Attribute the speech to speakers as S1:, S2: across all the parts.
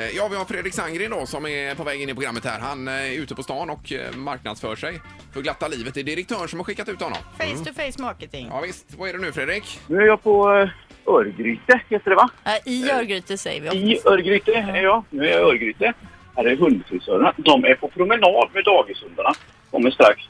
S1: Eh, Ja, vi har Fredrik Sangren då som är på väg in i programmet här. Han eh, är ute på stan och eh, marknadsför sig för glatta livet. Det är direktören som har skickat ut honom.
S2: Face to face marketing.
S1: Ja, visst. Vad är det nu Fredrik?
S3: Nu är jag på eh, Örgryte, heter det va?
S2: Nej, I Örgryte säger vi.
S3: I Örgryte är jag. Nu är jag i Örgryte. Här är hundfrisörerna. De är på promenad med dagishundarna. Kommer strax.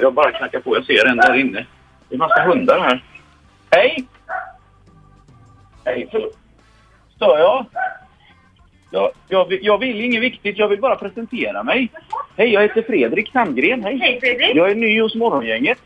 S3: Jag bara knackar på. Jag ser en där inne. Det är massa hundar här. Hej! Hej, förlåt. Stör jag? Jag, jag, vill- jag vill inget viktigt. Jag vill bara presentera mig. Hej, jag heter Fredrik Sandgren. Hej.
S4: Hej, Fredrik.
S3: Jag är ny hos Morgongänget.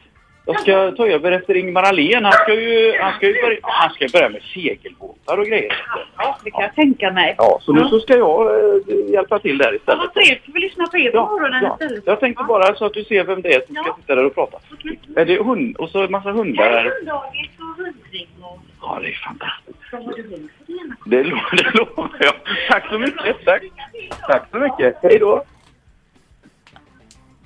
S3: Jag ska ta över efter Ingmar Ahlén. Han ska ju, han ska ju, börja, han ska ju börja med segelbåtar och grejer.
S4: Ja, det kan jag tänka mig.
S3: Ja, så nu så ska jag eh, hjälpa till där
S4: Ja,
S3: istället.
S4: vad trevligt. Vi får lyssna på er på morgonen istället.
S3: Jag tänkte bara så att du ser vem det är som ska
S4: Ja.
S3: sitta där och prata. Är det hund och så en massa hundar
S4: Här
S3: där.
S4: är hunddagis och hundträdgård.
S3: Ja, det är fantastiskt.
S4: Vad har du hund för ena?
S3: Det, lo- det lovar jag. Tack så mycket. Tack, tack så mycket. Hej då.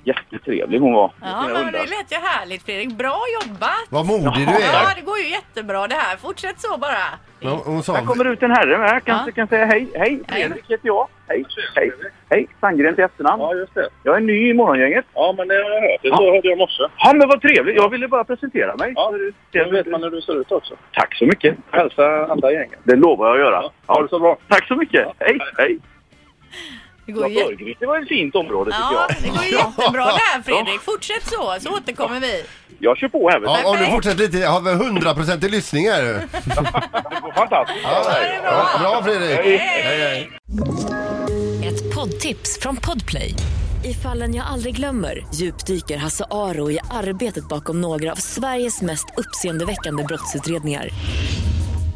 S3: Jättetrevlig hon var.
S2: Ja,
S3: Med sina
S2: men det
S3: hundar.
S2: lät ju härligt Fredrik. Bra jobbat!
S5: Vad modig du
S2: Ja,
S5: är.
S2: det går ju jättebra det här. Fortsätt så bara.
S5: Men Hon, hon
S3: Här
S5: sa,
S3: kommer ut en herre med. Kanske kan säga hej. Hej, Fredrik heter jag. Hej, hej. Hej, Sandgren till efternamn. Ja, just det. Jag är ny i Morgongänget.
S6: Ja, men det har jag hört. Det
S3: Ja.
S6: så hörde jag i morse.
S3: Ja, men vad trevligt. Jag ville bara presentera mig.
S6: Ja,
S3: det
S6: Nu vet man hur du ser ut också.
S3: Tack så mycket.
S6: Hälsa andra gänget.
S3: Det lovar jag att göra. Ja.
S6: Ha det så bra.
S3: Tack så mycket. Hej, hej.
S2: Det går ju, jä-
S3: Det var ett fint område tycker
S2: ja, det
S3: jag.
S2: går ju jättebra det här Fredrik. Fortsätt så, så återkommer vi.
S3: Jag kör på här. vet
S5: ja, om du fortsätter lite, jag har väl 100% i lyssning här nu.
S3: du. Det går fantastiskt.
S5: Ja, bra Fredrik! Hej, hej.
S7: Ett poddtips från Podplay. I fallen jag aldrig glömmer djupdyker Hasse Aro i arbetet bakom några av Sveriges mest uppseendeväckande brottsutredningar.